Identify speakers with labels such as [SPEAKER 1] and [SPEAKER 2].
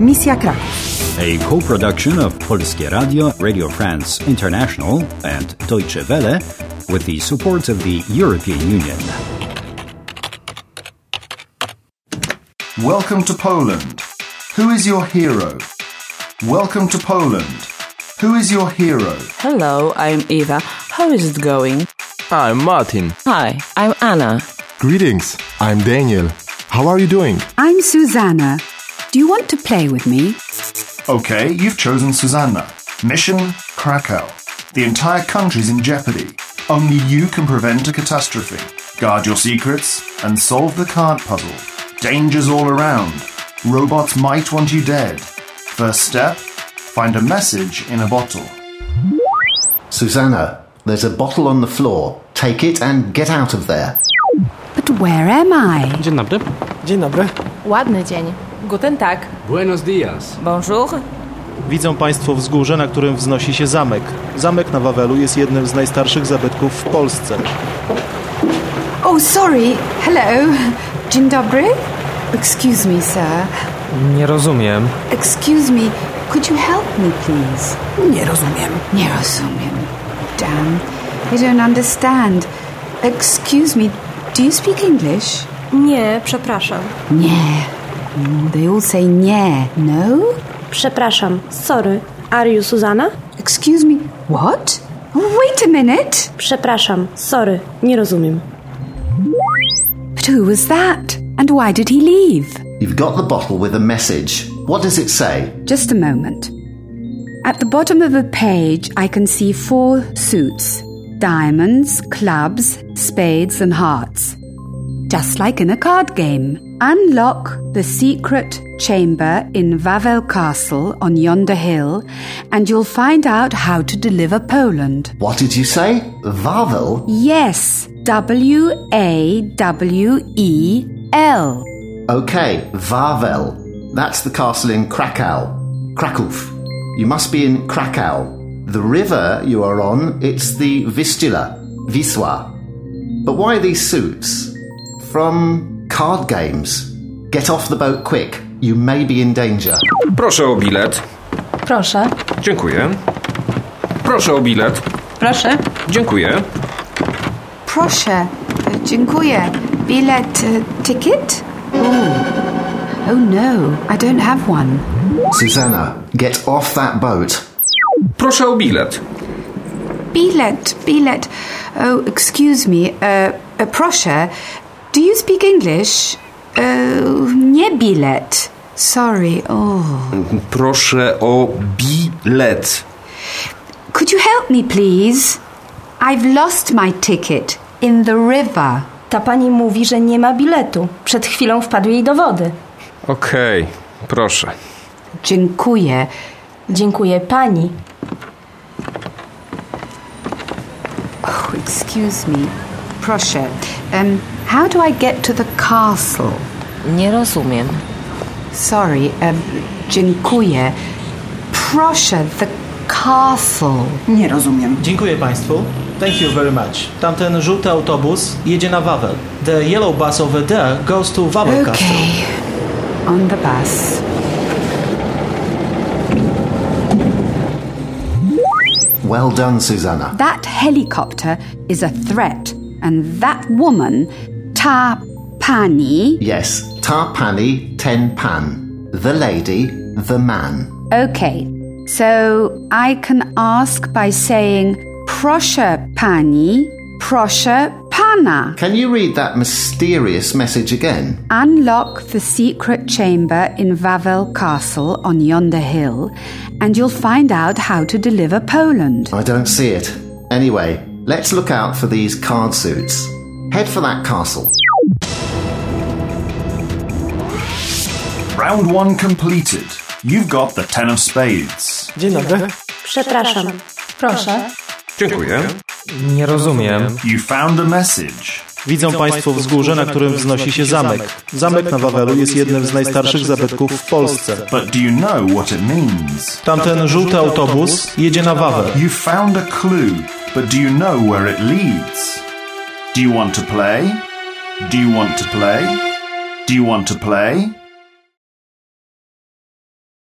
[SPEAKER 1] Misja Kraków.
[SPEAKER 2] A co-production of Polskie Radio, Radio France International and Deutsche Welle with the support of the European Union.
[SPEAKER 3] Welcome to Poland. Who is your hero? Welcome to Poland. Who is your hero?
[SPEAKER 4] Hello, I'm Eva. How is it going?
[SPEAKER 5] I'm Martin.
[SPEAKER 4] Hi, I'm Anna.
[SPEAKER 6] Greetings, I'm Daniel. How are you doing?
[SPEAKER 7] I'm Susanna. Do you want to play with me?
[SPEAKER 3] Okay, you've chosen Susanna. Mission Krakow. The entire country's in jeopardy. Only you can prevent a catastrophe. Guard your secrets and solve the card puzzle. Dangers all around. Robots might want you dead. First step find a message in a bottle.
[SPEAKER 8] Susanna, there's a bottle on the floor. Take it and get out of there.
[SPEAKER 7] But where am I?
[SPEAKER 9] Dzień dobry.
[SPEAKER 10] Dzień dobry.
[SPEAKER 11] Ładny dzień.
[SPEAKER 12] Guten Tag.
[SPEAKER 9] Buenos dias.
[SPEAKER 12] Bonjour.
[SPEAKER 13] Widzą Państwo wzgórze, na którym wznosi się zamek. Zamek na Wawelu jest jednym z najstarszych zabytków w Polsce.
[SPEAKER 7] Oh, sorry. Hello. Dzień dobry. Excuse me, sir.
[SPEAKER 9] Nie rozumiem.
[SPEAKER 7] Excuse me. Could you help me, please?
[SPEAKER 10] Nie rozumiem.
[SPEAKER 7] Nie rozumiem. Damn. I don't understand. Excuse me. Do you speak English?
[SPEAKER 11] Nie, przepraszam.
[SPEAKER 7] Nie. Mm, They all say nie. No?
[SPEAKER 11] Przepraszam. Sorry. Are you Suzana?
[SPEAKER 7] Excuse me. What? Wait a minute.
[SPEAKER 11] Przepraszam. Sorry. Nie rozumiem.
[SPEAKER 7] But who was that? And why did he leave?
[SPEAKER 8] You've got the bottle with a message. What does it say?
[SPEAKER 7] Just a moment. At the bottom of a page, I can see four suits diamonds, clubs, spades, and hearts. Just like in a card game. Unlock the secret chamber in Wawel Castle on yonder hill, and you'll find out how to deliver Poland.
[SPEAKER 8] What did you say? Wawel?
[SPEAKER 7] Yes, W A W E L.
[SPEAKER 8] Okay, Wawel. That's the castle in Krakow. Kraków. You must be in Krakow. The river you are on, it's the Vistula, Wisła. But why these suits? From card games. Get off the boat quick. You may be in danger.
[SPEAKER 5] Proszę o bilet.
[SPEAKER 12] Proszę.
[SPEAKER 5] Dziękuję. Proszę o bilet.
[SPEAKER 12] Proszę.
[SPEAKER 5] Dziękuję.
[SPEAKER 7] Proszę. E, Dziękuję. Bilet e, ticket? Oh. Oh no, I don't have one.
[SPEAKER 8] Susanna, get off that boat.
[SPEAKER 5] Proszę o bilet.
[SPEAKER 7] Bilet, bilet. Oh, excuse me. Uh, uh, proszę. Do you speak English? Oh, nie bilet. Sorry. Oh.
[SPEAKER 5] Proszę o bilet.
[SPEAKER 7] Could you help me, please? I've lost my ticket in the river.
[SPEAKER 11] Ta pani mówi, że nie ma biletu. Przed chwilą wpadł jej do wody.
[SPEAKER 5] Okej, proszę.
[SPEAKER 7] Dziękuję.
[SPEAKER 11] Dziękuję pani.
[SPEAKER 7] Oh, excuse me. Proszę. Um, how do I get to the castle?
[SPEAKER 4] Nie rozumiem.
[SPEAKER 7] Sorry. Um, dziękuję. Proszę, the castle.
[SPEAKER 10] Nie rozumiem.
[SPEAKER 13] Dziękuję Państwu. Thank you very much. Tamten żółty autobus jedzie na Wawel. The yellow bus over there goes to Wawel Castle.
[SPEAKER 7] Okay. On the bus.
[SPEAKER 8] Well done, Susanna.
[SPEAKER 7] That helicopter is a threat, and that woman, Ta Pani.
[SPEAKER 8] Yes, Tarpani Ten Pan. The lady, the man.
[SPEAKER 7] Okay, so I can ask by saying Prosha Pani, Prosha Pana.
[SPEAKER 8] Can you read that mysterious message again?
[SPEAKER 7] Unlock the secret chamber in Wawel Castle on yonder hill, and you'll find out how to deliver Poland.
[SPEAKER 8] I don't see it. Anyway, let's look out for these card suits. Head for that castle.
[SPEAKER 3] Round one completed. You've got the Ten of Spades.
[SPEAKER 10] Dzień dobry.
[SPEAKER 11] Przepraszam. Proszę.
[SPEAKER 5] Dziękuję.
[SPEAKER 9] Nie rozumiem.
[SPEAKER 3] You found a message.
[SPEAKER 13] Widzą Państwo wzgórze, na którym wznosi się zamek. Zamek na Wawelu jest jednym z najstarszych zabytków w Polsce.
[SPEAKER 3] But do you know what it means?
[SPEAKER 13] Tamten żółty autobus jedzie na Wawel.
[SPEAKER 3] You found a clue, but do you know where it leads? Do you want to play? Do you want to play? Do you want to play?